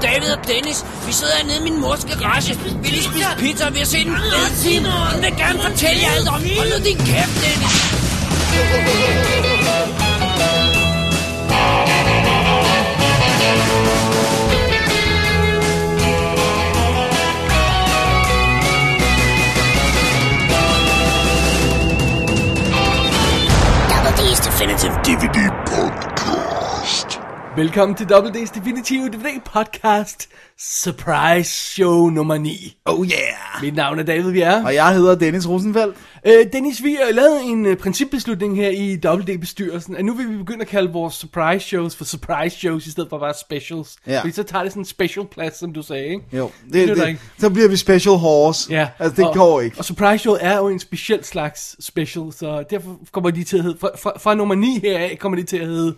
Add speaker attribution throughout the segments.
Speaker 1: Dennis. Vi sidder hernede i min mors garage. Vi lige spise pizza, og vi har set en fed film. Hun vil gerne fortælle jer alt om. Hold nu din kæft, Dennis.
Speaker 2: Definitive DVD podcast.
Speaker 3: Velkommen til WD's Definitive DVD Podcast Surprise Show nummer 9.
Speaker 4: Oh yeah!
Speaker 3: Mit navn er David Bjerre.
Speaker 4: Og jeg hedder Dennis Rosenfeldt.
Speaker 3: Øh, Dennis, vi har lavet en øh, principbeslutning her i WD-bestyrelsen, at nu vil vi begynde at kalde vores surprise shows for surprise shows, i stedet for bare specials.
Speaker 4: Ja.
Speaker 3: Fordi så tager det sådan en special plads, som du sagde, ikke?
Speaker 4: Jo,
Speaker 3: Det
Speaker 4: det,
Speaker 3: nytter
Speaker 4: det,
Speaker 3: ikke.
Speaker 4: det, så bliver vi special horse.
Speaker 3: Ja,
Speaker 4: Altså, det og, går ikke.
Speaker 3: Og surprise show er jo en speciel slags special, så derfor kommer de til at hedde, fra, fra, fra nummer 9 heraf kommer de til at hedde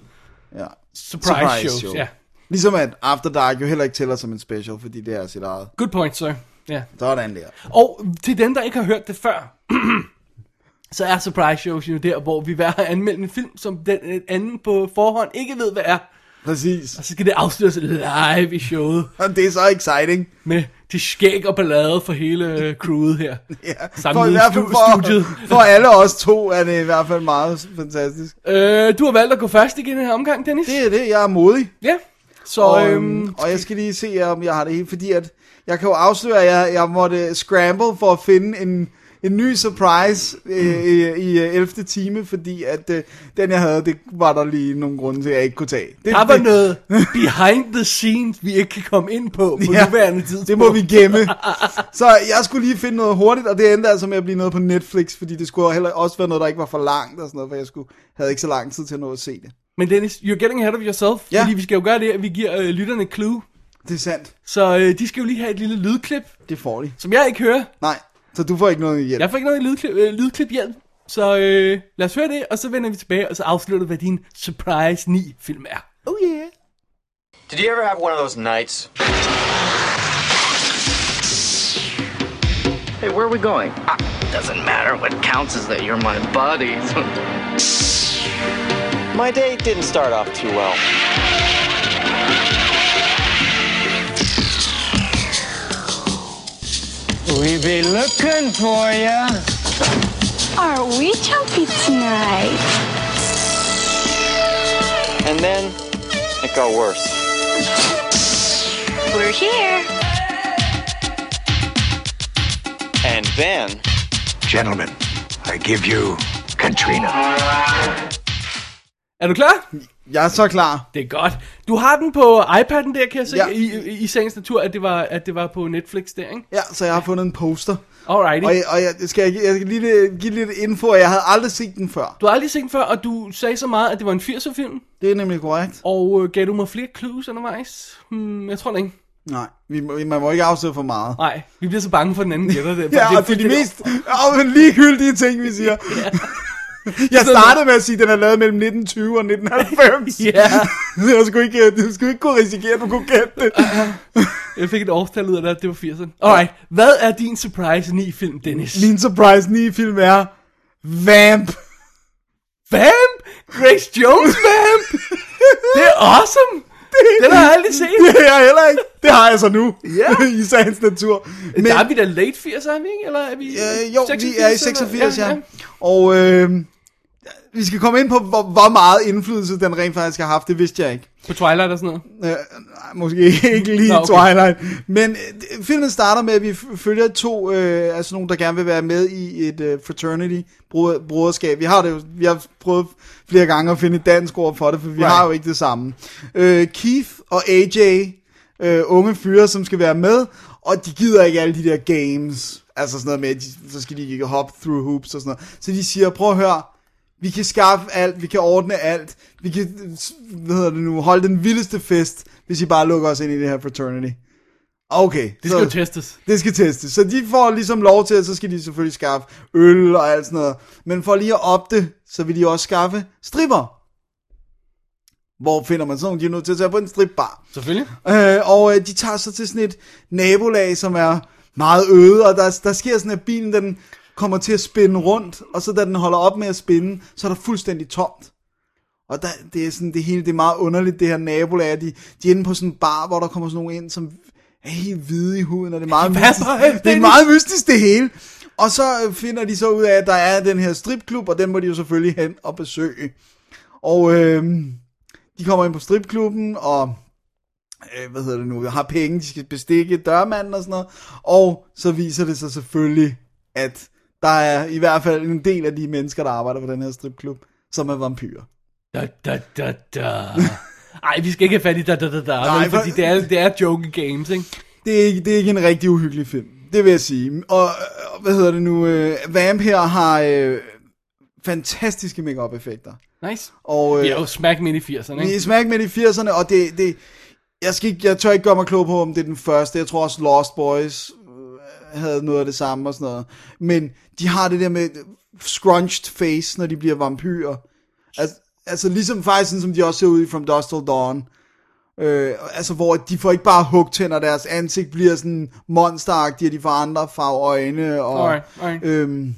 Speaker 4: Ja.
Speaker 3: surprise, surprise shows. Show. Ja.
Speaker 4: Ligesom at After Dark jo heller ikke tæller som en special, fordi det er sit eget.
Speaker 3: Good point, sir. Ja.
Speaker 4: Sådan der.
Speaker 3: Og til dem, der ikke har hørt det før, så er surprise shows jo der, hvor vi hver har anmeldt en film, som den øh, anden på forhånd ikke ved, hvad er.
Speaker 4: Præcis.
Speaker 3: Og så skal det afsløres live i showet
Speaker 4: Og det er så exciting.
Speaker 3: med de skæg og ballade for hele øh, crewet her.
Speaker 4: Ja.
Speaker 3: Samlet i stu-
Speaker 4: for,
Speaker 3: studiet.
Speaker 4: for alle os to er det i hvert fald meget fantastisk.
Speaker 3: Øh, du har valgt at gå først igen i den her omgang, Dennis.
Speaker 4: Det er det, jeg er modig.
Speaker 3: Ja. Så
Speaker 4: Og,
Speaker 3: øhm,
Speaker 4: øhm, og jeg skal lige se, om jeg har det helt, fordi at jeg kan jo afsløre, at jeg, jeg måtte scramble for at finde en, en ny surprise øh, i, i øh, 11. time, fordi at øh, den, jeg havde, det var der lige nogle grunde til, at jeg ikke kunne tage. Det,
Speaker 3: der var
Speaker 4: det,
Speaker 3: noget behind the scenes, vi ikke kan komme ind på på
Speaker 4: Ja,
Speaker 3: nuværende tidspunkt.
Speaker 4: Det må vi gemme. Så jeg skulle lige finde noget hurtigt, og det endte altså med at blive noget på Netflix, fordi det skulle heller også være noget, der ikke var for langt og sådan noget, for jeg skulle, havde ikke så lang tid til at nå at se det.
Speaker 3: Men Dennis, you're getting ahead of yourself,
Speaker 4: Ja.
Speaker 3: fordi vi skal jo gøre det, at vi giver øh, lytterne et clue.
Speaker 4: Det er sandt.
Speaker 3: Så øh, de skal jo lige have et lille lydklip,
Speaker 4: Det får de.
Speaker 3: som jeg ikke hører.
Speaker 4: Nej, så du får ikke noget hjælp.
Speaker 3: Jeg får ikke noget lydklip, øh, lydklip hjælp, så øh, lad os høre det, og så vender vi tilbage, og så afslutter, hvad din Surprise 9-film er.
Speaker 4: Oh yeah.
Speaker 5: Did you ever have one of those nights?
Speaker 6: Hey, where are we going? Ah, doesn't matter. What counts is that you're my buddy.
Speaker 5: My day didn't start off too well.
Speaker 7: We be looking for ya.
Speaker 8: Are we chunky tonight?
Speaker 5: And then it got worse.
Speaker 8: We're here.
Speaker 5: And then
Speaker 2: Gentlemen, I give you Katrina.
Speaker 3: Er du klar?
Speaker 4: Jeg er så klar.
Speaker 3: Det er godt. Du har den på iPad'en der, kan jeg se, ja.
Speaker 4: Ja.
Speaker 3: i, i, i sagens natur, at det, var, at det var på Netflix der, ikke?
Speaker 4: Ja, så jeg har fundet en poster.
Speaker 3: Alrighty.
Speaker 4: Og, jeg, og jeg, skal jeg, jeg skal lige give lidt info, at jeg havde aldrig set den før.
Speaker 3: Du har aldrig set den før, og du sagde så meget, at det var en 80'er film,
Speaker 4: Det er nemlig korrekt.
Speaker 3: og øh, gav du mig flere clues undervejs? Hmm, jeg tror det ikke.
Speaker 4: Nej, vi, må- man må ikke afsløre for meget.
Speaker 3: Nej, vi bliver så bange for den anden gætter det.
Speaker 4: Ja, og det er de mest oh, men ligegyldige ting, vi siger. Jeg startede med at sige, at den er lavet mellem 1920 og 1990.
Speaker 3: Ja,
Speaker 4: Jeg skulle ikke, du skulle ikke kunne risikere, at du kunne gætte det.
Speaker 3: jeg fik et årstal ud af det, at det var 80'erne. Alright, hvad er din Surprise 9-film, Dennis?
Speaker 4: Min surprise 9-film er Vamp.
Speaker 3: Vamp? Grace Jones Vamp? det er awesome! Den har jeg aldrig set.
Speaker 4: Det har jeg heller ikke. Det har jeg så nu.
Speaker 3: Ja.
Speaker 4: I sagens natur. Men,
Speaker 3: Der er vi da late 80'er, er vi ikke? Eller er vi
Speaker 4: Øh, jo,
Speaker 3: 86
Speaker 4: vi er i
Speaker 3: eller-
Speaker 4: 86, ja. ja. Og øh, vi skal komme ind på, hvor, hvor meget indflydelse den rent faktisk har haft. Det vidste jeg ikke.
Speaker 3: På Twilight og sådan noget.
Speaker 4: Øh, nej, måske ikke lige
Speaker 3: Nå,
Speaker 4: Nå,
Speaker 3: okay.
Speaker 4: okay. Twilight. Men øh, filmen starter med, at vi f- følger to øh, altså nogen, der gerne vil være med i et øh, fraternity bro- broderskab. Vi har det jo, vi har prøvet flere gange at finde et dansk ord for det, for vi right. har jo ikke det samme. Øh, Keith og AJ, øh, unge fyre, som skal være med, og de gider ikke alle de der games. Altså sådan noget med, at de, så skal de ikke hoppe through hoops og sådan noget. Så de siger, prøv at høre, vi kan skaffe alt, vi kan ordne alt, vi kan, øh, s- hvad hedder det nu, holde den vildeste fest, hvis I bare lukker os ind i det her fraternity. Okay.
Speaker 3: Det skal jo testes.
Speaker 4: Det skal testes. Så de får ligesom lov til, at så skal de selvfølgelig skaffe øl og alt sådan noget. Men for lige at opte, så vil de også skaffe stripper. Hvor finder man sådan nogle? De er nødt til at tage på en stripbar.
Speaker 3: Selvfølgelig.
Speaker 4: Øh, og øh, de tager så til sådan et nabolag, som er meget øde, og der, der sker sådan, at bilen den kommer til at spinde rundt, og så da den holder op med at spinde, så er der fuldstændig tomt. Og der, det er sådan, det hele det er meget underligt, det her nabolag, de, de er inde på sådan en bar, hvor der kommer sådan nogle ind, som er helt hvide i huden, og det er meget, mystisk.
Speaker 3: vampire
Speaker 4: det er
Speaker 3: babies.
Speaker 4: meget mystisk det hele. Og så øh, finder de så ud af, at der er den her stripklub, og den må de jo selvfølgelig hen og besøge. Og øh, de kommer ind på stripklubben, og øh, hvad hedder det nu, har penge, de skal bestikke dørmanden og sådan noget. Og så viser det sig selvfølgelig, at der er i hvert fald en del af de mennesker, der arbejder på den her stripklub, som er vampyrer.
Speaker 3: Da, da, da, da. Ej, vi skal ikke have fat i da, da, da, da.
Speaker 4: Nej,
Speaker 3: Nej, fordi
Speaker 4: for-
Speaker 3: det er, det er joke games, ikke?
Speaker 4: Det er, ikke, det er ikke en rigtig uhyggelig film, det vil jeg sige. Og øh, hvad hedder det nu, øh, Vamp her har øh, fantastiske makeup effekter
Speaker 3: Nice.
Speaker 4: Og, øh,
Speaker 3: Vi er jo smack midt i 80'erne,
Speaker 4: Vi er
Speaker 3: ikke?
Speaker 4: smæk med i 80'erne, og det, det jeg, skal ikke, jeg tør ikke gøre mig klog på, om det er den første. Jeg tror også Lost Boys øh, havde noget af det samme og sådan noget. Men de har det der med scrunched face, når de bliver vampyrer. Altså, altså ligesom faktisk, sådan, som de også ser ud i From Dusk Till Dawn. Øh, altså hvor de får ikke bare hugtænder, deres ansigt bliver sådan monsteragtige, og de får andre farveøjne. Og,
Speaker 3: Alright, alright.
Speaker 4: Øhm,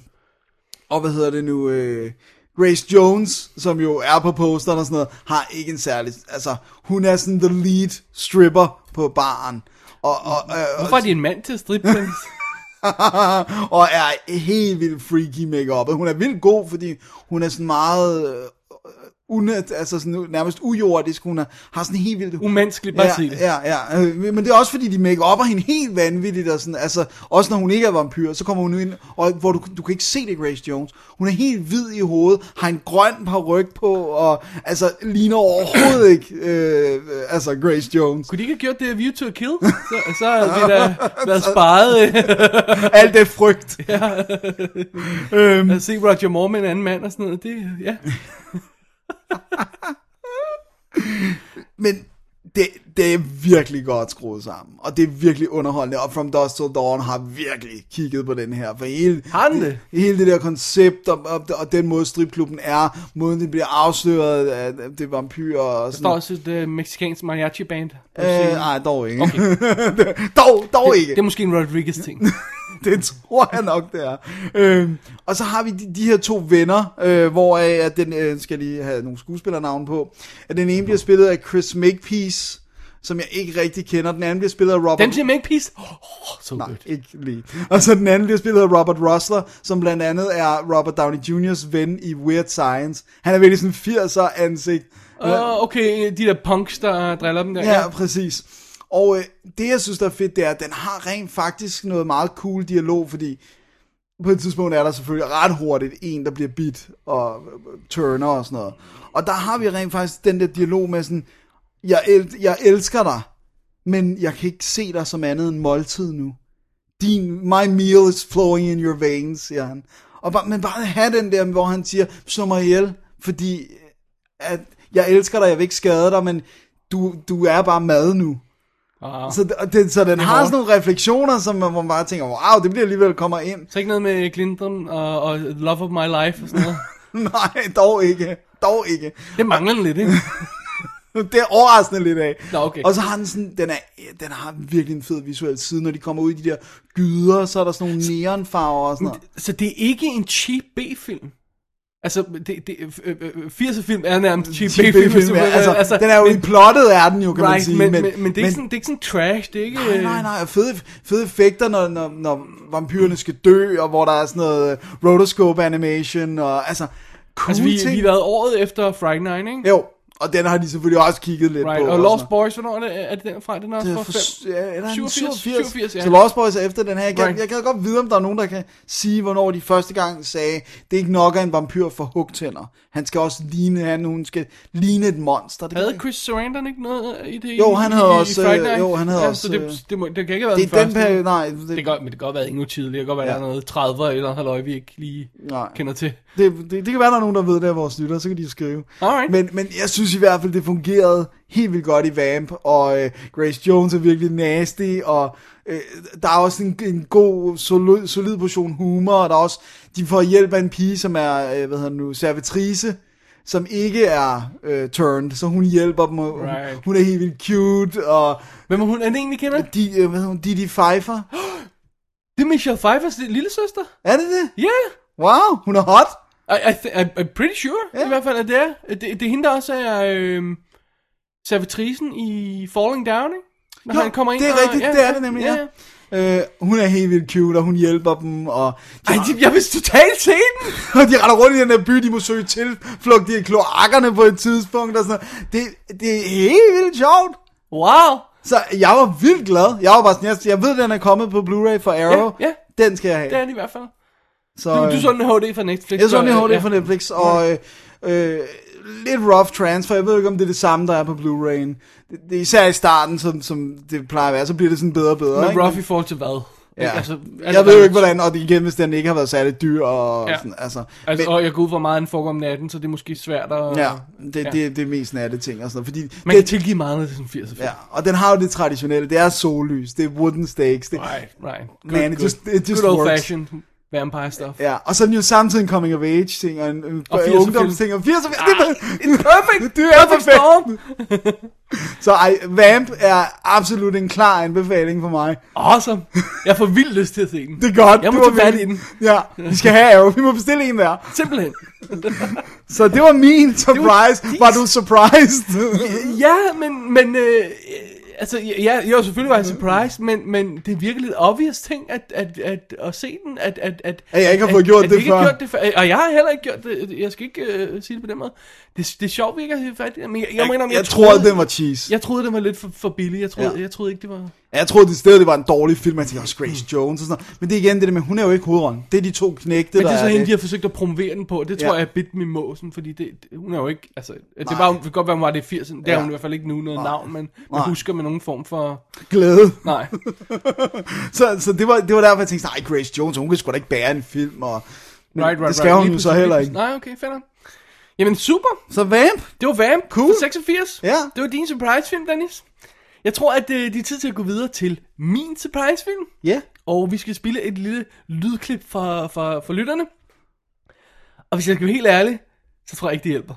Speaker 4: og hvad hedder det nu, øh, Grace Jones, som jo er på posteren og sådan noget, har ikke en særlig, altså hun er sådan the lead stripper på baren. Og, og, og,
Speaker 3: Hvorfor er de en mand til striptease?
Speaker 4: og, og er helt vildt freaky makeup. Hun er vildt god, fordi hun er sådan meget øh, unet, altså sådan nærmest ujordisk. Hun er, har sådan helt vildt
Speaker 3: Umenneskeligt, bare
Speaker 4: ja,
Speaker 3: sig det.
Speaker 4: Ja, ja. Øh, Men det er også fordi, de make upper hende helt vanvittigt. Og sådan, altså, også når hun ikke er vampyr, så kommer hun ind, og, hvor du, du kan ikke se det, Grace Jones. Hun er helt hvid i hovedet, har en grøn paryk på, og altså, ligner overhovedet ikke øh, altså, Grace Jones.
Speaker 3: Kunne de ikke have gjort det af View to a Kill? Så, så havde det da været sparet.
Speaker 4: Alt det frygt. øhm,
Speaker 3: øh, At se Roger Moore med en anden mand og sådan noget. Det, ja.
Speaker 4: Men det, det er virkelig godt skruet sammen, og det er virkelig underholdende, og From Dusk Till Dawn har virkelig kigget på den her, for hele,
Speaker 3: Har den det?
Speaker 4: hele det der koncept, og, og, og den måde stripklubben er, måden den bliver afsløret, at det er vampyrer og
Speaker 3: Der er
Speaker 4: sådan
Speaker 3: også et uh, mexicansk mariachi band.
Speaker 4: Øh, nej, dog ikke. Okay. dog, dog ikke.
Speaker 3: Det er måske en Rodriguez ting.
Speaker 4: det tror jeg nok, det er. Øhm, og så har vi de, de her to venner, øh, hvor at den øh, skal lige have nogle skuespillernavne på. At den ene bliver spillet af Chris Makepeace, som jeg ikke rigtig kender. Den anden bliver spillet af Robert...
Speaker 3: Den til Make Peace. Oh, so
Speaker 4: Nej,
Speaker 3: good.
Speaker 4: ikke lige. Og så den anden bliver spillet af Robert Rosler, som blandt andet er Robert Downey Jr.'s ven i Weird Science. Han er virkelig sådan 80'er ansigt.
Speaker 3: Åh, Øh, okay, de der punks, der driller dem der.
Speaker 4: Ja, præcis. Og øh, det, jeg synes, der er fedt, det er, at den har rent faktisk noget meget cool dialog, fordi på et tidspunkt er der selvfølgelig ret hurtigt en, der bliver bit og øh, turner og sådan noget. Og der har vi rent faktisk den der dialog med sådan, jeg, el- jeg elsker dig, men jeg kan ikke se dig som andet end måltid nu. Din, my meal is flowing in your veins, siger han. Og bare, men bare have den der, hvor han siger, slå mig ihjel, fordi at jeg elsker dig, jeg vil ikke skade dig, men du, du er bare mad nu.
Speaker 3: Ah.
Speaker 4: Så, d- og den, så den har
Speaker 3: hårdt.
Speaker 4: sådan nogle refleksioner, som man, hvor man bare tænker, wow, det bliver alligevel kommer ind.
Speaker 3: Så ikke noget med Glindrum og, og Love of My Life og sådan noget.
Speaker 4: Nej, dog ikke. Dog ikke.
Speaker 3: Det mangler den lidt, ikke?
Speaker 4: Det er overraskende lidt af.
Speaker 3: Nå, okay.
Speaker 4: Og så har den sådan, den, er, den har virkelig en fed visuel side, når de kommer ud i de der gyder, så er der sådan nogle neonfarver og sådan noget.
Speaker 3: Så det er ikke en cheap B-film. Altså, det, det, øh, øh, 80'er film er nærmest cheap,
Speaker 4: Cheap
Speaker 3: B-film. hvis
Speaker 4: B-film,
Speaker 3: du-
Speaker 4: ja, altså, altså, den er jo
Speaker 3: men-
Speaker 4: i plottet af den jo, kan man
Speaker 3: Right,
Speaker 4: sige.
Speaker 3: men, men, men, det, er ikke sådan, det er ikke sådan trash, det er ikke...
Speaker 4: Nej, nej, nej, og fede, fede effekter, når, når, når vampyrerne skal dø, og hvor der er sådan noget øh, rotoscope animation, og altså, cool
Speaker 3: Altså, vi,
Speaker 4: ting.
Speaker 3: vi har været året efter Friday Night, ikke?
Speaker 4: Jo, og den har de selvfølgelig også kigget lidt
Speaker 3: right.
Speaker 4: på.
Speaker 3: Og
Speaker 4: sådan
Speaker 3: Lost Boys, hvornår er det, er det den fra? Den er også
Speaker 4: noget.
Speaker 3: fra 5.
Speaker 4: Øh, for- ja, eller er den
Speaker 3: 87,
Speaker 4: 87?
Speaker 3: 87, ja.
Speaker 4: Så Lost Boys er efter den her. Jeg gad,
Speaker 3: Right.
Speaker 4: jeg gad godt vide, om der er nogen, der kan sige, hvornår de første gang sagde, det er ikke nok, at en vampyr får hugtænder. Han skal også ligne, han, hun skal ligne et monster. Det, kan-
Speaker 3: Havde Chris Sarandon ikke noget i det?
Speaker 4: Jo, han
Speaker 3: i,
Speaker 4: havde
Speaker 3: i,
Speaker 4: også, øh,
Speaker 3: I Friday Night?
Speaker 4: jo, han havde
Speaker 3: ja,
Speaker 4: også, øh,
Speaker 3: Så det, det, må, det kan ikke have været
Speaker 4: det er den
Speaker 3: første.
Speaker 4: periode, nej. Det,
Speaker 3: Det kan, godt- men det kan godt være endnu tidligere. Det kan godt være,
Speaker 4: Ja.
Speaker 3: ja. der er noget 30'er eller halløj, vi ikke lige
Speaker 4: Nej.
Speaker 3: Nej. kender til.
Speaker 4: Det, det, det kan være, der er nogen, der ved det af vores lytter, så kan de jo skrive.
Speaker 3: Alright.
Speaker 4: Men, men jeg synes i hvert fald, det fungerede helt vildt godt i Vamp, og øh, Grace Jones er virkelig nasty, og øh, der er også en, en god, solid, solid portion humor, og der er også, de får hjælp af en pige, som er, øh, hvad hedder den nu, servitrice, som ikke er øh, turned, så hun hjælper dem, og
Speaker 3: Right.
Speaker 4: hun er helt vildt cute, og
Speaker 3: Hvem er hun? Er det en, vi kender?
Speaker 4: de, øh, hvad hedder hun, Didi Pfeiffer.
Speaker 3: Det er Michelle Pfeiffers lille søster.
Speaker 4: Er det
Speaker 3: Ja.
Speaker 4: det?
Speaker 3: Yeah.
Speaker 4: Wow, hun er hot.
Speaker 3: I, I th- I'm I'm pretty sure,
Speaker 4: Ja.
Speaker 3: yeah. i hvert fald, at det er. Det, det er hende, der også er øhm, servitrisen i Falling Down, ikke? når
Speaker 4: Jo,
Speaker 3: han kommer ind.
Speaker 4: det er
Speaker 3: og-
Speaker 4: rigtigt, det er det nemlig, ja. Øh, hun er helt vildt cute, og hun hjælper dem, og de,
Speaker 3: Ej, de, jeg vil totalt se den.
Speaker 4: og de retter rundt i den her by, de må søge tilflugt i kloakkerne på et tidspunkt, og sådan noget. det, det er helt vildt sjovt.
Speaker 3: Wow.
Speaker 4: Så jeg var vildt glad. Jeg var bare sådan, jeg, jeg ved, den er kommet på Blu-ray for Arrow.
Speaker 3: Ja, ja.
Speaker 4: Den skal jeg have.
Speaker 3: Det er det i hvert fald.
Speaker 4: så,
Speaker 3: Du, du
Speaker 4: øh,
Speaker 3: så den i HD fra Netflix.
Speaker 4: Jeg så den i
Speaker 3: øh,
Speaker 4: HD
Speaker 3: ja.
Speaker 4: fra Netflix, og øh, øh, lidt rough transfer. Jeg ved ikke, om det er det samme, der er på Blu-ray'en. Det, det er især i starten, som, som det plejer at være. Så bliver det sådan bedre og bedre.
Speaker 3: Men
Speaker 4: ikke?
Speaker 3: rough i forhold til hvad?
Speaker 4: Ja.
Speaker 3: Altså,
Speaker 4: jeg ved jo ikke, hvordan, og det- igen, hvis den ikke har været særlig dyr, og
Speaker 3: Ja.
Speaker 4: ja. sådan, altså,
Speaker 3: Altså,
Speaker 4: men,
Speaker 3: og jeg går ud fra meget, den foregår om natten, så det er måske svært at...
Speaker 4: ja, det, det, det, er mest natte ting og sådan noget, fordi
Speaker 3: Man kan
Speaker 4: det,
Speaker 3: tilgive meget, når det er sådan 80
Speaker 4: ja, og den har jo det traditionelle, det er sollys, det er wooden stakes, det,
Speaker 3: Right, right. Good,
Speaker 4: Man, it
Speaker 3: good.
Speaker 4: just- it just
Speaker 3: good old
Speaker 4: works.
Speaker 3: fashioned vampire stuff.
Speaker 4: Ja, og så er den jo samtidig en coming of age ting, og en, en
Speaker 3: Og
Speaker 4: og
Speaker 3: 80'er film.
Speaker 4: ungdomsting, og 80'er film. Det er
Speaker 3: Perfect,
Speaker 4: Det er perfekt.
Speaker 3: storm.
Speaker 4: Så ej, Vamp er absolut en klar anbefaling for mig.
Speaker 3: Awesome. Jeg får vildt lyst til at se den.
Speaker 4: Det er godt.
Speaker 3: Jeg må
Speaker 4: det var
Speaker 3: tage fat i
Speaker 4: virkelig-
Speaker 3: den.
Speaker 4: Ja, vi skal have jo. Vi må bestille en der.
Speaker 3: Simpelthen.
Speaker 4: Så det var min surprise.
Speaker 3: Det var-
Speaker 4: var, du surprised?
Speaker 3: Ja, men, men øh, altså, ja, jo, selvfølgelig var jeg surprised, men, men det er virkelig et obvious ting, at, at, at, at se den, at, at, at,
Speaker 4: At jeg ikke har fået gjort
Speaker 3: at,
Speaker 4: det
Speaker 3: at vi ikke har
Speaker 4: før.
Speaker 3: Gjort det før. Og jeg har heller ikke gjort det, jeg skal ikke øh, sige det på den måde. Det, det er sjovt, vi ikke har fat i det, men jeg, jeg, mener,
Speaker 4: jeg troede, den var cheese.
Speaker 3: Jeg troede, det var lidt for, for billig. Jeg troede, ja.
Speaker 4: Ja.
Speaker 3: jeg troede ikke, det var...
Speaker 4: Jeg troede, det sted, det var en dårlig film. Jeg tænkte, også Grace Jones og sådan noget. Men det er igen det der med, hun er jo ikke hovedrollen. Det er de to knægte,
Speaker 3: Men det er
Speaker 4: der
Speaker 3: så
Speaker 4: er
Speaker 3: hende, de
Speaker 4: det.
Speaker 3: har forsøgt at promovere den på. og Det tror
Speaker 4: Ja.
Speaker 3: jeg er bit med måsen, fordi det, det- hun er jo ikke... Altså, det
Speaker 4: Nej.
Speaker 3: var, hun, det kan godt være, hun var det i 80'erne. Det er
Speaker 4: Ja.
Speaker 3: hun i hvert fald ikke nu noget navn, men man
Speaker 4: Nej.
Speaker 3: husker med nogen form for...
Speaker 4: Glæde.
Speaker 3: Nej.
Speaker 4: så så det, var, det var derfor, jeg tænkte, nej, Grace Jones, hun kan sgu da ikke bære en film. Og... Men
Speaker 3: Right, right,
Speaker 4: det skal
Speaker 3: right.
Speaker 4: hun
Speaker 3: Lige
Speaker 4: jo så
Speaker 3: pludselig,
Speaker 4: heller
Speaker 3: lige
Speaker 4: ikke.
Speaker 3: pludselig. Nej, okay, fænder. Jamen super,
Speaker 4: Så Vamp,
Speaker 3: det var Vamp
Speaker 4: Cool.
Speaker 3: for 86.
Speaker 4: Ja.
Speaker 3: Det var din surprise-film, Dennis. Jeg tror, at øh, det er tid til at gå videre til min surprise-film.
Speaker 4: ja.
Speaker 3: Og vi skal spille et lille lydklip for, for, for lytterne. Og hvis jeg skal være helt ærlig, så tror jeg ikke, det hjælper.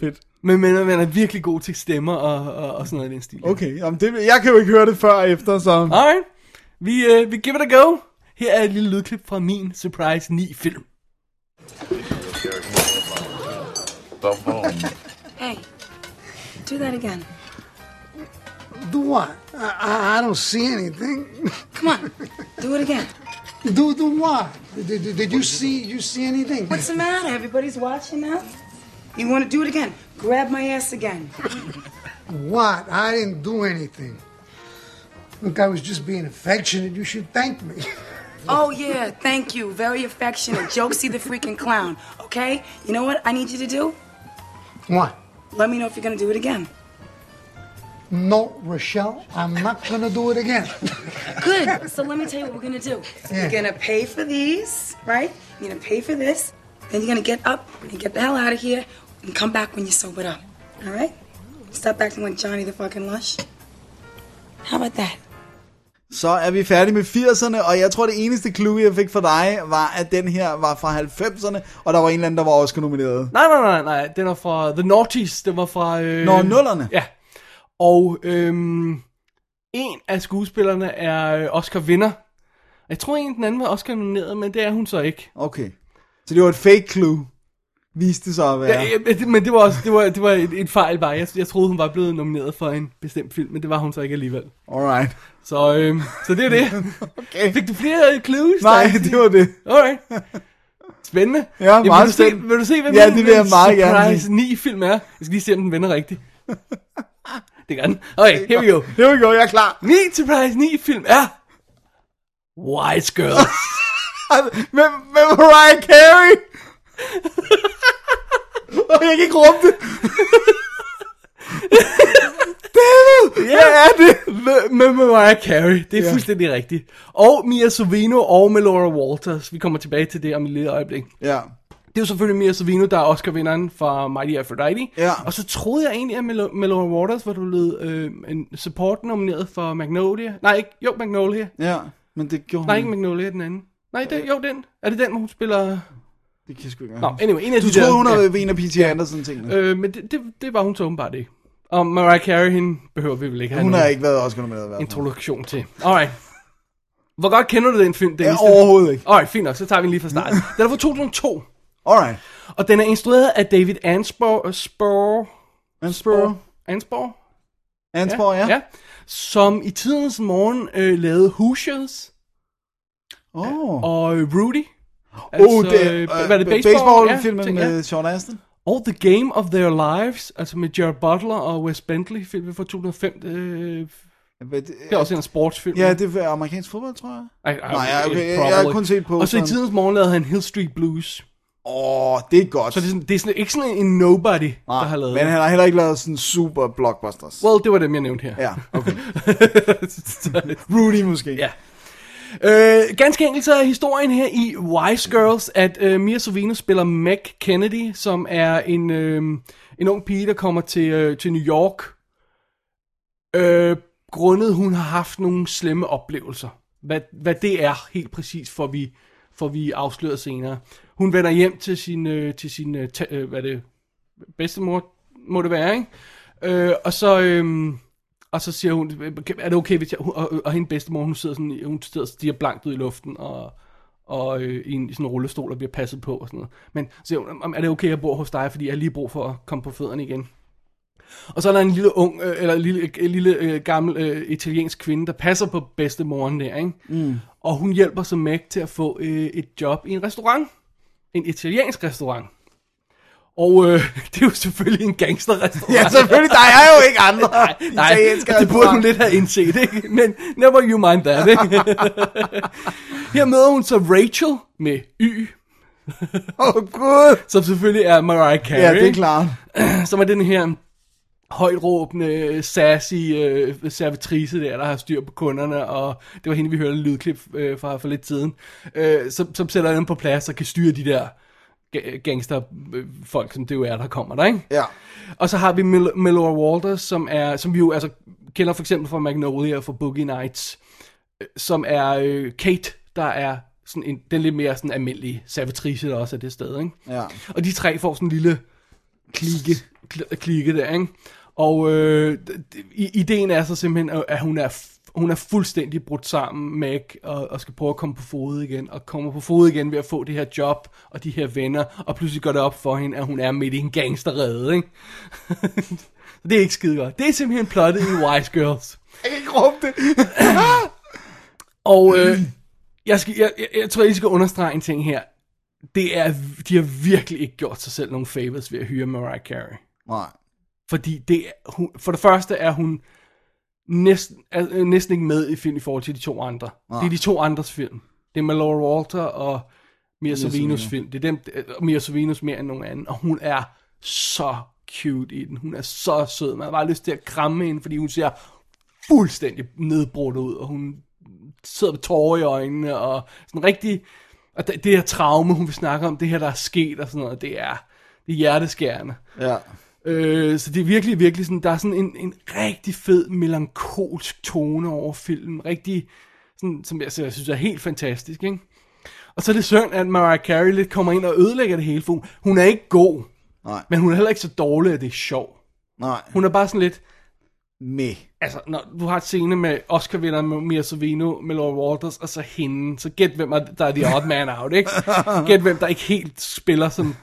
Speaker 4: Fedt.
Speaker 3: Men, men man er virkelig god til stemmer og, og, og sådan noget i den stil.
Speaker 4: Okay, jamen det, jeg kan jo ikke høre det før og efter, så...
Speaker 3: Alright, vi, øh, vi giver det a go. Her er et lille lydklip fra min Surprise 9-film.
Speaker 8: Hey, do that again.
Speaker 9: Do what? Ah, I, I, I don't see anything.
Speaker 8: Come on, do it again.
Speaker 9: Do do what? Did, did, did you see you see anything?
Speaker 8: What's the matter? Everybody's watching now. You want to do it again? Grab my ass again.
Speaker 9: What? I didn't do anything. Look, I was just being affectionate. You should thank me.
Speaker 8: Oh yeah, thank you. Very affectionate. Jokesy the freaking clown. Okay? You know what I need you to do?
Speaker 9: What?
Speaker 8: Let me know if you're gonna do it again.
Speaker 9: No, Rochelle, I'm not gonna do it again.
Speaker 8: Good. So let me tell you what we're gonna do.
Speaker 9: Yeah.
Speaker 8: You're gonna pay for these, right? You're gonna pay for this. Then you're gonna get up and get the hell out of here and come back when you're sobered up. All right? Stop acting like Johnny the fucking lush. How about that?
Speaker 4: Så er vi færdige med 80'erne, og jeg tror det eneste clue, jeg fik fra dig, var, at den her var fra 90'erne, og der var en eller anden, der var også nomineret.
Speaker 3: Nej, nej, nej, nej, den er fra The Naughties, den var fra... Øh,
Speaker 4: Nå, nullerne.
Speaker 3: Ja, og øhm, en af skuespillerne er øh, Oscar-vinder. Jeg tror en den anden var Oscar-nomineret, men det er hun så ikke.
Speaker 4: Okay. Så det var et fake clue, viste det sig at være.
Speaker 3: Ja. ja, det- Øh, men det var også det var, det var et, et fejl bare. Jeg, jeg troede, hun var blevet nomineret for en bestemt film, men det var hun så ikke alligevel.
Speaker 4: Alright.
Speaker 3: Så, øhm, så det er det.
Speaker 4: Okay.
Speaker 3: Fik du flere clues?
Speaker 4: Nej,
Speaker 3: Stein?
Speaker 4: det var det.
Speaker 3: Alright. Spændende.
Speaker 4: Ja, meget
Speaker 3: vil du se,
Speaker 4: spændende.
Speaker 3: Vil du se, hvad
Speaker 4: Ja,
Speaker 3: min,
Speaker 4: det vil jeg
Speaker 3: min
Speaker 4: meget gerne
Speaker 3: Surprise 9-film er? Jeg skal lige se, om den vender rigtigt. det gør den. Okay, here we go.
Speaker 4: Here we go, jeg er klar.
Speaker 3: Min Surprise 9-film er... Wise Girls.
Speaker 4: Med, med Mariah Carey! og jeg kan ikke rumme det. David, hvad er det?
Speaker 3: med, med Mariah Carey. Det er
Speaker 4: Ja.
Speaker 3: fuldstændig rigtigt. Og Mia Sorvino og med Laura Walters. Vi kommer tilbage til det om et lille øjeblik.
Speaker 4: Ja.
Speaker 3: Det er jo selvfølgelig Mia Sorvino, der er Oscar-vinderen fra Mighty Aphrodite.
Speaker 4: Ja.
Speaker 3: Og så troede jeg egentlig, at Mel- med Laura Waters var du blevet øh, en support nomineret for Magnolia. Nej, ikke, jo, Magnolia.
Speaker 4: Ja, men det gjorde
Speaker 3: Nej,
Speaker 4: hun.
Speaker 3: ikke Magnolia, den anden. Nej, det, jo, den. Er det den, hvor hun spiller...
Speaker 4: Det kan jeg sgu ikke
Speaker 3: Nå, anyway, en af
Speaker 4: Du
Speaker 3: de
Speaker 4: troede,
Speaker 3: der...
Speaker 4: hun havde været en af P.T. Andersen-tingene.
Speaker 3: ja. øh, men det, det, det, var hun så åbenbart ikke. Og Mariah Carey, hende behøver vi vel ikke have
Speaker 4: Hun har
Speaker 3: nogen
Speaker 4: ikke været Oscar nomineret i hvert fald.
Speaker 3: introduktion til. Alright. Hvor godt kender du den film,
Speaker 4: Ja,
Speaker 3: Dennis?
Speaker 4: overhovedet ikke.
Speaker 3: Alright, fint nok, så tager vi den lige fra start. Den er fra 2002,
Speaker 4: Alright.
Speaker 3: og den er instrueret af David Ansbor... Spor,
Speaker 4: Ansbro.
Speaker 3: Ansbor?
Speaker 4: Ansbor, ja.
Speaker 3: ja. som i tidens morgen øh, lavede Hoosiers
Speaker 4: Åh, oh.
Speaker 3: og øh, Rudy.
Speaker 4: oh, det, øh,
Speaker 3: var det baseball?
Speaker 4: baseballfilmen
Speaker 3: tænker jeg.
Speaker 4: med Sean Astin.
Speaker 3: Og The Game of Their Lives, altså med Jared Butler og Wes Bentley, filmen fra 2005. Øh,
Speaker 4: Hvad det-
Speaker 3: det er også en sportsfilm.
Speaker 4: Ja, det er amerikansk fodbold, tror jeg.
Speaker 3: Ej, ej,
Speaker 4: Nej, ja, okay,
Speaker 3: it's
Speaker 4: jeg
Speaker 3: probably-
Speaker 4: har kun set på
Speaker 3: Og så i
Speaker 4: sådan-
Speaker 3: tidens morgen lavede han Hill Street Blues.
Speaker 4: Åh, oh, det er godt.
Speaker 3: Så det er, sådan, det er sådan, ikke sådan en nobody, Nej, der har lavet
Speaker 4: men
Speaker 3: det.
Speaker 4: han har heller ikke lavet sådan super blockbusters.
Speaker 3: Well, det var dem, jeg nævnte her.
Speaker 4: Ja, okay. Rudy måske.
Speaker 3: Ja. Øh, ganske enkelt så er historien her i Wise Girls, at øh, Mia Sorvino spiller Meg Kennedy, som er en, øh, en ung pige, der kommer til, øh, til New York, øh, grundet hun har haft nogle slemme oplevelser. Hvad, hvad det er helt præcis, får vi, får vi afsløret senere. Hun vender hjem til sin, øh, til sin øh, ta- øh, hvad er det, bedstemor, må det være, ikke? Øh, og så... Øh, og så siger hun, er det okay, hvis jeg... Og, og, og hendes bedstemor, hun sidder sådan, hun sidder og stiger blankt ud i luften, og, og øh, i en i sådan en rullestol, der bliver passet på og sådan noget. Men så siger hun, "Om- er det okay, jeg bor hos dig, fordi jeg har lige brug for at komme på fødderne igen. Og så er der en lille ung, øh, eller en lille, en lille øh, gammel øh, italiensk kvinde, der passer på bedstemoren der, ikke? Mm. Og hun hjælper så Meg til at få øh, et job i en restaurant. En italiensk restaurant. Og øh, det er jo selvfølgelig en gangsterrestaurant.
Speaker 4: ja, selvfølgelig. Der er jo ikke andre.
Speaker 3: Nej, nej,
Speaker 4: italienske
Speaker 3: det burde hun
Speaker 4: restauranter.
Speaker 3: lidt have indset, ikke? Men never you mind that, ikke? Her møder hun så Rachel med Y,
Speaker 4: Åh, oh, gud.
Speaker 3: som selvfølgelig er Mariah Carey.
Speaker 4: Ja, det er klart.
Speaker 3: klart. Som er den her højtråbende, sassy øh, servitrice der, der har styr på kunderne, og det var hende, vi hørte et lydklip øh, fra for lidt siden, øh, som, som sætter dem på plads og kan styre de der ga- gangsterfolk, som det jo er, der kommer der, ikke?
Speaker 4: Ja.
Speaker 3: Og så har vi Mil- Melora Walters, som, er, som vi jo altså, kender for eksempel fra Magnolia og fra Boogie Nights, øh, som er øh, Kate, der er sådan en, den lidt mere sådan almindelige servitrice, der også er det sted. Ikke?
Speaker 4: Ja.
Speaker 3: Og de tre får sådan en lille klike, kl- klike der, ikke? Og øh, d- d- i- ideen er så simpelthen, at- at hun er, f- hun er fuldstændig brudt sammen, Meg, og, og skal prøve at komme på fod igen, og kommer på fod igen ved at få det her job, og de her venner, og pludselig går det op for hende, at hun er midt i en gangsterrede, ikke? det er ikke skide godt. Det er simpelthen plottet i Wise Girls.
Speaker 4: Jeg kan ikke råbe det.
Speaker 3: Og øh, jeg, skal, jeg, jeg, jeg tror, jeg lige skal understrege en ting her. Det er, de har virkelig ikke gjort sig selv nogen favors ved at hyre Mariah Carey.
Speaker 4: Nej.
Speaker 3: Fordi det, er- hun, for det første er hun næsten, er, øh, næsten ikke med i film i forhold til de to andre. Nej. Det er de to andres film. Det er Melora Walter og Mia Sorvinos film. Det er dem, øh, Mia Sorvinos mere end nogen anden. Og hun er så cute i den. Hun er så sød. Man har bare lyst til at kramme hende, fordi hun ser fuldstændig nedbrudt ud. Og hun sidder med tårer i øjnene. Og sådan rigtig... Og det, det her traume, hun vil snakke om, det her, der er sket og sådan noget, det er, det er hjerteskærende.
Speaker 4: Ja.
Speaker 3: Øh, så det er virkelig, virkelig sådan, der er sådan en, en rigtig fed, melankolsk tone over filmen. Rigtig, sådan, som jeg, jeg synes er helt fantastisk, ikke? Og så er det synd, at Mariah Carey lidt kommer ind og ødelægger det hele, for hun, hun er ikke god,
Speaker 4: Nej.
Speaker 3: men hun er heller ikke så dårlig, at det er sjov.
Speaker 4: Nej.
Speaker 3: Hun er bare sådan lidt,
Speaker 4: Meh.
Speaker 3: altså, når du har et scene med Oscar-vinderen Mia Sorvino, med Laura Walters, og så hende, så gæt hvem er- der er the odd man out, ikke? Gæt hvem der ikke helt spiller som...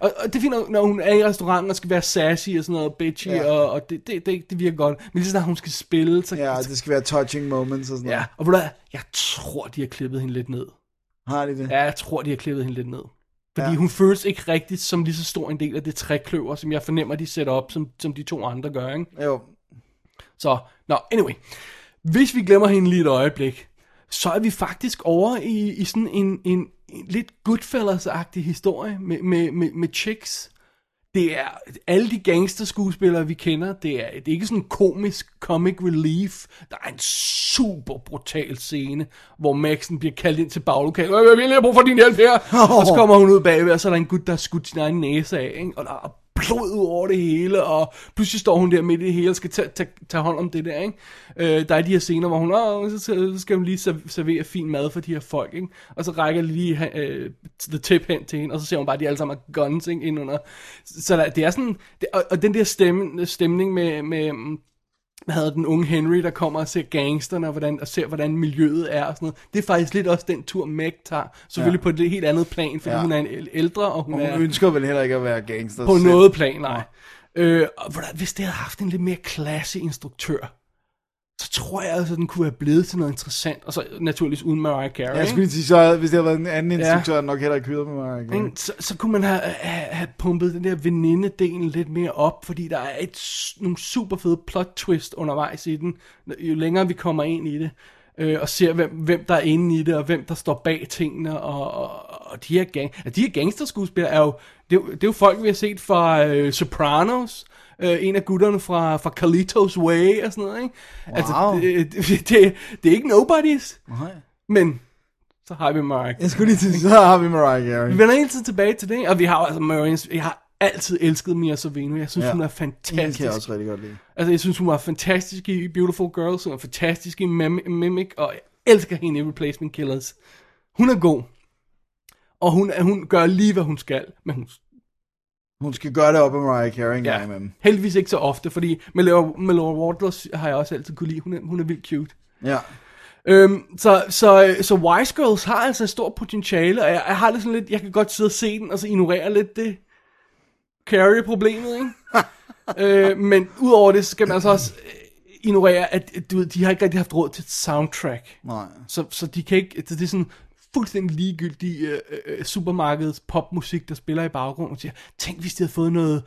Speaker 3: Og, og det er fint, når- når hun er i restauranten og skal være sassy og sådan noget, bitchy, ja. og, og det, det, det, det virker godt. Men lige så snart hun skal spille, så...
Speaker 4: Ja, det skal være touching moments og sådan
Speaker 3: ja.
Speaker 4: noget.
Speaker 3: Og ved du hvad, jeg tror, de har klippet hende lidt ned.
Speaker 4: Har de det?
Speaker 3: Ja, jeg tror, de har klippet hende lidt ned. Fordi ja. hun føles ikke rigtigt som lige så stor en del af det trækløver, som jeg fornemmer, de sætter op, som, som de to andre gør, ikke?
Speaker 4: Jo.
Speaker 3: Så, nå, anyway. Hvis vi glemmer hende lige et øjeblik, så er vi faktisk over i, i sådan en, en, en lidt Goodfellas-agtig historie med, med, med, med chicks. Det er alle de gangsterskuespillere, vi kender. Det er, det er ikke sådan en komisk comic relief. Der er en super brutal scene, hvor Maxen bliver kaldt ind til baglokalet. Øh, Jeg har brug for din hjælp her. Og så kommer hun ud bagved, og så er der en gut, der har skudt sin egen næse af. Ikke? Og der er blod ud over det hele, og pludselig står hun der midt i det hele og skal tage, tage, tage hånd om det der, ikke? Øh, der er de her scener, hvor hun, Åh, så, så skal hun lige serv- servere fin mad for de her folk, ikke? Og så rækker de lige øh, the tip hen til hende, og så ser hun bare, at de alle sammen har guns, ikke? Ind under. Så der, det er sådan, det, og, og den der stemme, stemning med, med mm, hvad hedder den unge Henry, der kommer og ser gangsterne, og, hvordan, og ser, hvordan miljøet er og sådan noget. Det er faktisk lidt også den tur, Meg tager. Selvfølgelig ja. på et lidt helt andet plan, fordi
Speaker 4: Ja.
Speaker 3: ja. hun er en æl- ældre, og hun,
Speaker 4: Og
Speaker 3: er...
Speaker 4: Hun ønsker vel heller ikke at være gangster.
Speaker 3: På
Speaker 4: selv.
Speaker 3: noget plan, nej. Øh, og hvordan- hvis det havde haft en lidt mere klasse instruktør, så tror jeg altså, den kunne have blevet til noget interessant. Og så naturligvis uden Mariah Carey.
Speaker 4: Jeg
Speaker 3: ikke?
Speaker 4: skulle lige sige, så hvis det havde været en anden
Speaker 3: Ja.
Speaker 4: instruktør, havde den nok heller ikke hyret med mig.
Speaker 3: Ikke? Så, så kunne man have, have, have pumpet den der venindedelen lidt mere op, fordi der er et, s- nogle super fede plot twist undervejs i den, jo længere vi kommer ind i det, øh, og ser, hvem, hvem der er inde i det, og hvem der står bag tingene, og, og, og de her, gang, altså, de her gangsterskuespillere er jo, det, er jo- det er jo folk, vi har set fra øh, Sopranos, øh, en af gutterne fra, fra Carlitos Way og sådan noget, ikke? Wow. Altså,
Speaker 4: Wow.
Speaker 3: det, det, det, det er ikke nobodies, men så har vi Mark.
Speaker 4: Jeg skulle lige sige, så har vi Mariah Carey.
Speaker 3: Vi vender hele tiden tilbage til det, og vi har jo altså Marines, jeg har altid elsket Mia Sorvino. Jeg synes, ja.
Speaker 4: Ja.
Speaker 3: hun er
Speaker 4: Den kan
Speaker 3: fantastisk.
Speaker 4: jeg også rigtig godt lide.
Speaker 3: Altså, jeg synes, hun var fantastisk i Beautiful Girls, hun var fantastisk i Mim- Mimic, og jeg elsker hende i Replacement Killers. Hun er god, og hun, hun gør lige, hvad hun skal, men hun
Speaker 4: Hun skal gøre det op med Mariah Carey en gang imellem.
Speaker 3: heldigvis ikke så ofte, fordi med Laura, med Laura Wardlow har jeg også altid kunne lide, hun er, hun er vildt cute.
Speaker 4: Ja.
Speaker 3: Øhm, så, så, så Wise Girls har altså et stort potentiale, og jeg, jeg har det sådan lidt, jeg kan godt sidde og se den, og så ignorere lidt det carry-problemet, ikke? øh, men udover det, så skal man altså også øh, ignorere, at du ved, de har ikke rigtig haft råd til et soundtrack.
Speaker 4: Nej.
Speaker 3: Så, så de kan ikke, det, det er sådan fuldstændig ligegyldig øh, øh, supermarkedets popmusik, der spiller i baggrunden, og siger, tænk hvis de havde fået noget,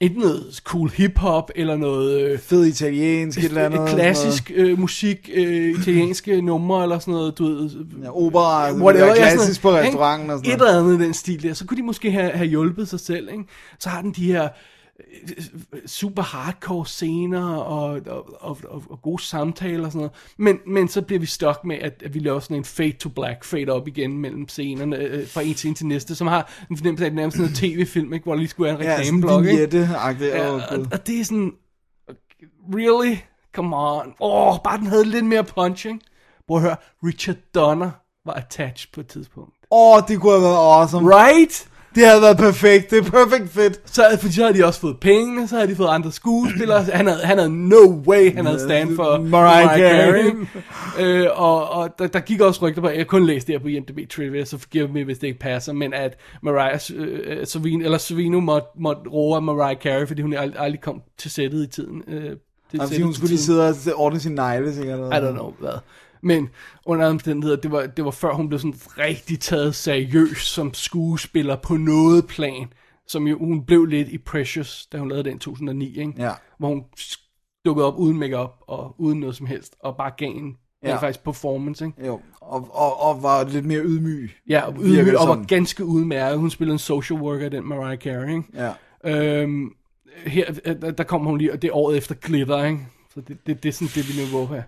Speaker 3: enten noget cool hip-hop, eller noget... Øh,
Speaker 4: Fed italiensk, et, eller andet.
Speaker 3: et
Speaker 4: sådan
Speaker 3: klassisk øh, musik, øh, italienske numre eller sådan noget, du ved. øh,
Speaker 4: noget. Ja, opera, altså,
Speaker 3: whatever,
Speaker 4: whatever,
Speaker 3: ja, sådan
Speaker 4: klassisk på
Speaker 3: noget, ikke?
Speaker 4: restauranten og sådan
Speaker 3: Et
Speaker 4: noget.
Speaker 3: eller andet i den stil der. Så kunne de måske have, have hjulpet sig selv, ikke? Så har den de her øh, super hardcore scener og, og, og, og, og gode samtaler og sådan noget. Men, men så bliver vi stok med, at, at vi laver sådan en fade to black, fade op igen mellem scenerne øh, fra en scene til næste, som har en fornemmelse af, at det er nærmest sådan noget tv-film, ikke? hvor der lige skulle være en
Speaker 4: Ja, sådan
Speaker 3: reklameblok. ikke?
Speaker 4: vignette-agtigt.
Speaker 3: Ja,
Speaker 4: Åh,
Speaker 3: og,
Speaker 4: Gud.
Speaker 3: og det er sådan, really? Come on. Åh, oh, bare den havde lidt mere punch, ikke? Prøv at høre, Richard Donner var attached på et tidspunkt.
Speaker 4: Åh, det kunne have været awesome.
Speaker 3: Right?
Speaker 4: Det havde været perfekt. Det er perfect fit.
Speaker 3: Så, for så havde de også fået penge, så havde de fået andre skuespillere. Han havde, han havde no way, han havde stand for
Speaker 4: Mariah Carey.
Speaker 3: øh, og og der, der gik også rygter på, jeg har kun læste det her på IMDb Trivia, så forgive mig, hvis det ikke passer, men at Mariah øh, Savino, eller Savino måtte, måtte roe af Mariah Carey, fordi hun ald- aldrig kom til sættet i tiden. Øh, til
Speaker 4: Altså,
Speaker 3: sættet
Speaker 4: hun
Speaker 3: til
Speaker 4: skulle lige
Speaker 3: tiden.
Speaker 4: sidde og ordne sin negle, sikkert.
Speaker 3: I don't know, hvad. Men under alle omstændigheder, det var, det var før hun blev sådan rigtig taget seriøst som skuespiller på noget plan, som jo hun blev lidt i Precious, da hun lavede den i 2009, ikke?
Speaker 4: Ja.
Speaker 3: hvor hun sk- dukkede op uden makeup og uden noget som helst, og bare gav en ja.
Speaker 4: Ja.
Speaker 3: faktisk performance, ikke?
Speaker 4: Jo, og, og, og var lidt mere ydmyg.
Speaker 3: Ja, og,
Speaker 4: Virker
Speaker 3: ydmyg,
Speaker 4: det
Speaker 3: og var
Speaker 4: sådan.
Speaker 3: ganske udmærket. Hun spillede en social worker, den Mariah Carey, ikke?
Speaker 4: Ja.
Speaker 3: Øhm, her, øh, der- der kommer hun lige, og det er året efter Glitter, ikke? Så det, det, det er sådan det, vi niveau her.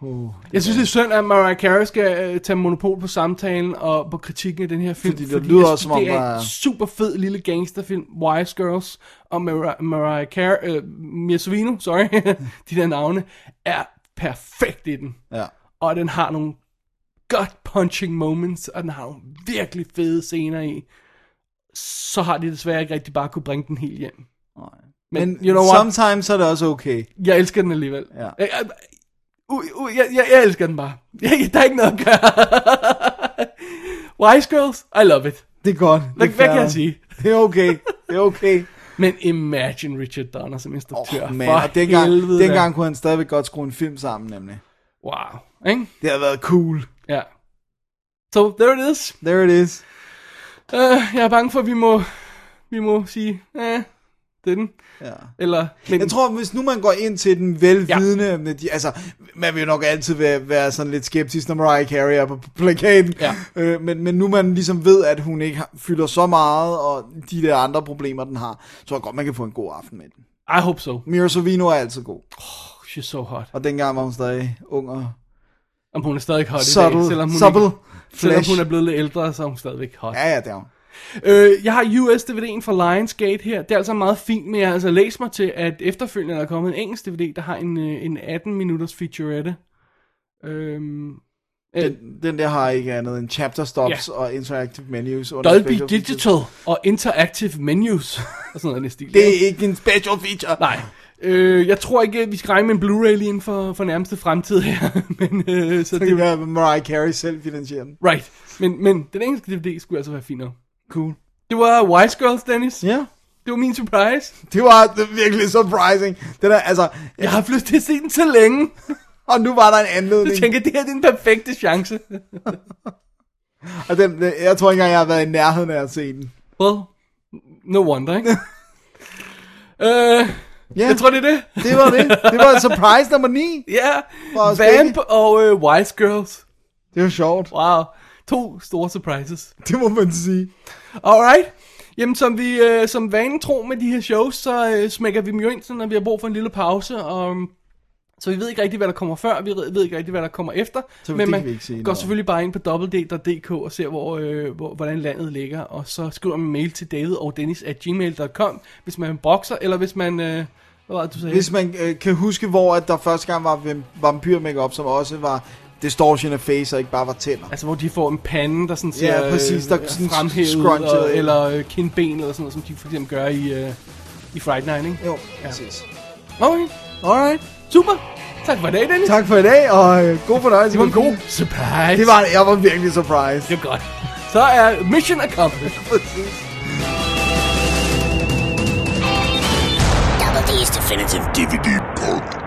Speaker 3: Uh, jeg synes, det er synd, at Mariah Carey skal øh, tage monopol på samtalen og på kritikken af den her film.
Speaker 4: Fordi det lyder
Speaker 3: jeg
Speaker 4: også,
Speaker 3: synes,
Speaker 4: som om
Speaker 3: det er
Speaker 4: der
Speaker 3: en
Speaker 4: er-
Speaker 3: super fed lille gangsterfilm, Wise Girls, og Mar- Mariah Carey, øh, Mia Sorvino, sorry, de der navne, er perfekt i den.
Speaker 4: Ja.
Speaker 3: Og den har nogle gut punching moments, og den har nogle virkelig fede scener i. Så har de desværre ikke rigtig bare kunne bringe den helt hjem.
Speaker 4: Men,
Speaker 3: Men, you know what?
Speaker 4: sometimes er det også okay.
Speaker 3: Jeg elsker den alligevel.
Speaker 4: Ja.
Speaker 3: Jeg, jeg, u, u, jeg, jeg, jeg elsker den bare. Jeg, der er ikke noget at gøre. Wise Girls, I love it.
Speaker 4: Det er godt.
Speaker 3: Hvad,
Speaker 4: Det er
Speaker 3: hvad kan
Speaker 4: fair.
Speaker 3: jeg sige?
Speaker 4: Det er okay. Det er okay.
Speaker 3: Men imagine Richard Donner som instruktør.
Speaker 4: Oh,
Speaker 3: Oh,
Speaker 4: man,
Speaker 3: For
Speaker 4: og dengang,
Speaker 3: helvede,
Speaker 4: dengang
Speaker 3: da.
Speaker 4: kunne han stadigvæk godt skrue en film sammen, nemlig.
Speaker 3: Wow. Ikke?
Speaker 4: Det har været cool.
Speaker 3: Ja. So, there it is.
Speaker 4: There it is.
Speaker 3: Uh, jeg er bange for, at vi må, vi må sige, eh, det er den.
Speaker 4: Ja.
Speaker 3: Eller, men,
Speaker 4: Jeg tror, hvis nu man går ind til den velvidende, ja. de, altså, man vil jo nok altid være, være sådan lidt skeptisk, når Mariah Carey er på på plakaten,
Speaker 3: Ja.
Speaker 4: øh, men, men nu man ligesom ved, at hun ikke har- fylder så meget, og de der andre problemer, den har, så tror jeg godt, man kan få en god aften med den.
Speaker 3: I hope so.
Speaker 4: Mira Sorvino er altid god,
Speaker 3: She's so hot.
Speaker 4: og dengang var hun stadig ung og
Speaker 3: Om hun er stadig hot i dag,
Speaker 4: subtle,
Speaker 3: selvom hun,
Speaker 4: subtle
Speaker 3: ikke, selvom
Speaker 4: flesh.
Speaker 3: hun er blevet lidt ældre, så er hun stadigvæk hot.
Speaker 4: Ja, ja, det er hun.
Speaker 3: Øh, jeg har US-DVD'en fra Lionsgate her. Det er altså meget fint, men jeg har altså læst mig til, at efterfølgende er der kommet en engelsk DVD, der har en, øh, en 18-minutters featurette. Øhm, øh,
Speaker 4: Den, den der har ikke andet end chapter stops
Speaker 3: Ja.
Speaker 4: ja. og interactive menus. under
Speaker 3: Dolby
Speaker 4: special features.
Speaker 3: Digital og Interactive Menus. og sådan noget i den stil.
Speaker 4: Det er ikke en special feature.
Speaker 3: Nej. Øh, jeg tror ikke, at vi skal regne med en Blu-ray lige inden for, for nærmeste fremtid her. men, øh, så
Speaker 4: Det
Speaker 3: det,
Speaker 4: kan være, at Mariah Carey selv finansierer den.
Speaker 3: right. Men, men den engelske DVD skulle altså være finere.
Speaker 4: Cool.
Speaker 3: Det var Wise Girls, Dennis.
Speaker 4: Ja.
Speaker 3: Det var min surprise.
Speaker 4: Det var det virkelig surprising. Det der, altså,
Speaker 3: Jeg har haft lyst til at se den så længe.
Speaker 4: og nu var der en
Speaker 3: Jeg
Speaker 4: anledning.
Speaker 3: tænker, det her det er den perfekte chance.
Speaker 4: Og den, den- jeg tror ikke engang, jeg har været i nærheden af at se den.
Speaker 3: Well, no wonder, ikke? øh,
Speaker 4: Ja,
Speaker 3: jeg tror, det er det.
Speaker 4: det var det. Det var surprise nummer 9.
Speaker 3: Ja,
Speaker 4: Vores
Speaker 3: Vamp og øh, Wise Girls.
Speaker 4: Det var sjovt.
Speaker 3: Wow, to store surprises.
Speaker 4: Det må man sige.
Speaker 3: Alright. Jamen, som vi øh, som vanen tro med de her shows, så øh, smækker vi dem jo ind, sådan, når vi har brug for en lille pause. Og, øhm, så vi ved ikke rigtig, hvad der kommer før, vi ved ikke rigtig, hvad der kommer efter.
Speaker 4: Så det
Speaker 3: men
Speaker 4: kan
Speaker 3: man
Speaker 4: vi ikke sige
Speaker 3: går
Speaker 4: noget om.
Speaker 3: selvfølgelig bare ind på www.dk og ser, hvor, øh, hvor, hvordan landet ligger. Og så skriver man en mail til david og dennis at gmail.com, hvis man brokser, eller hvis man... Øh, hvad var det, du sagde?
Speaker 4: Hvis man øh, kan huske, hvor at der første gang var vamp- vampyr makeup, som også var distortion af face og ikke bare var tænder.
Speaker 3: Altså, hvor de får en pande, der sådan ser
Speaker 4: Ja, præcis, der
Speaker 3: øh,
Speaker 4: sådan
Speaker 3: fremhævet,
Speaker 4: scrunchet
Speaker 3: og,
Speaker 4: ind.
Speaker 3: eller øh, kindben, eller sådan noget, som de for eksempel gør i, øh, i Fright Night, ikke?
Speaker 4: Jo, præcis.
Speaker 3: Okay,
Speaker 4: Alright.
Speaker 3: super. Tak for i dag, Dennis.
Speaker 4: Tak for i dag, og øh, god fornøjelse.
Speaker 3: Det var en god surprise.
Speaker 4: Det var, jeg var virkelig surprised.
Speaker 3: Det var godt. Så er mission accomplished.
Speaker 1: Double D's Definitive
Speaker 2: DVD Pulp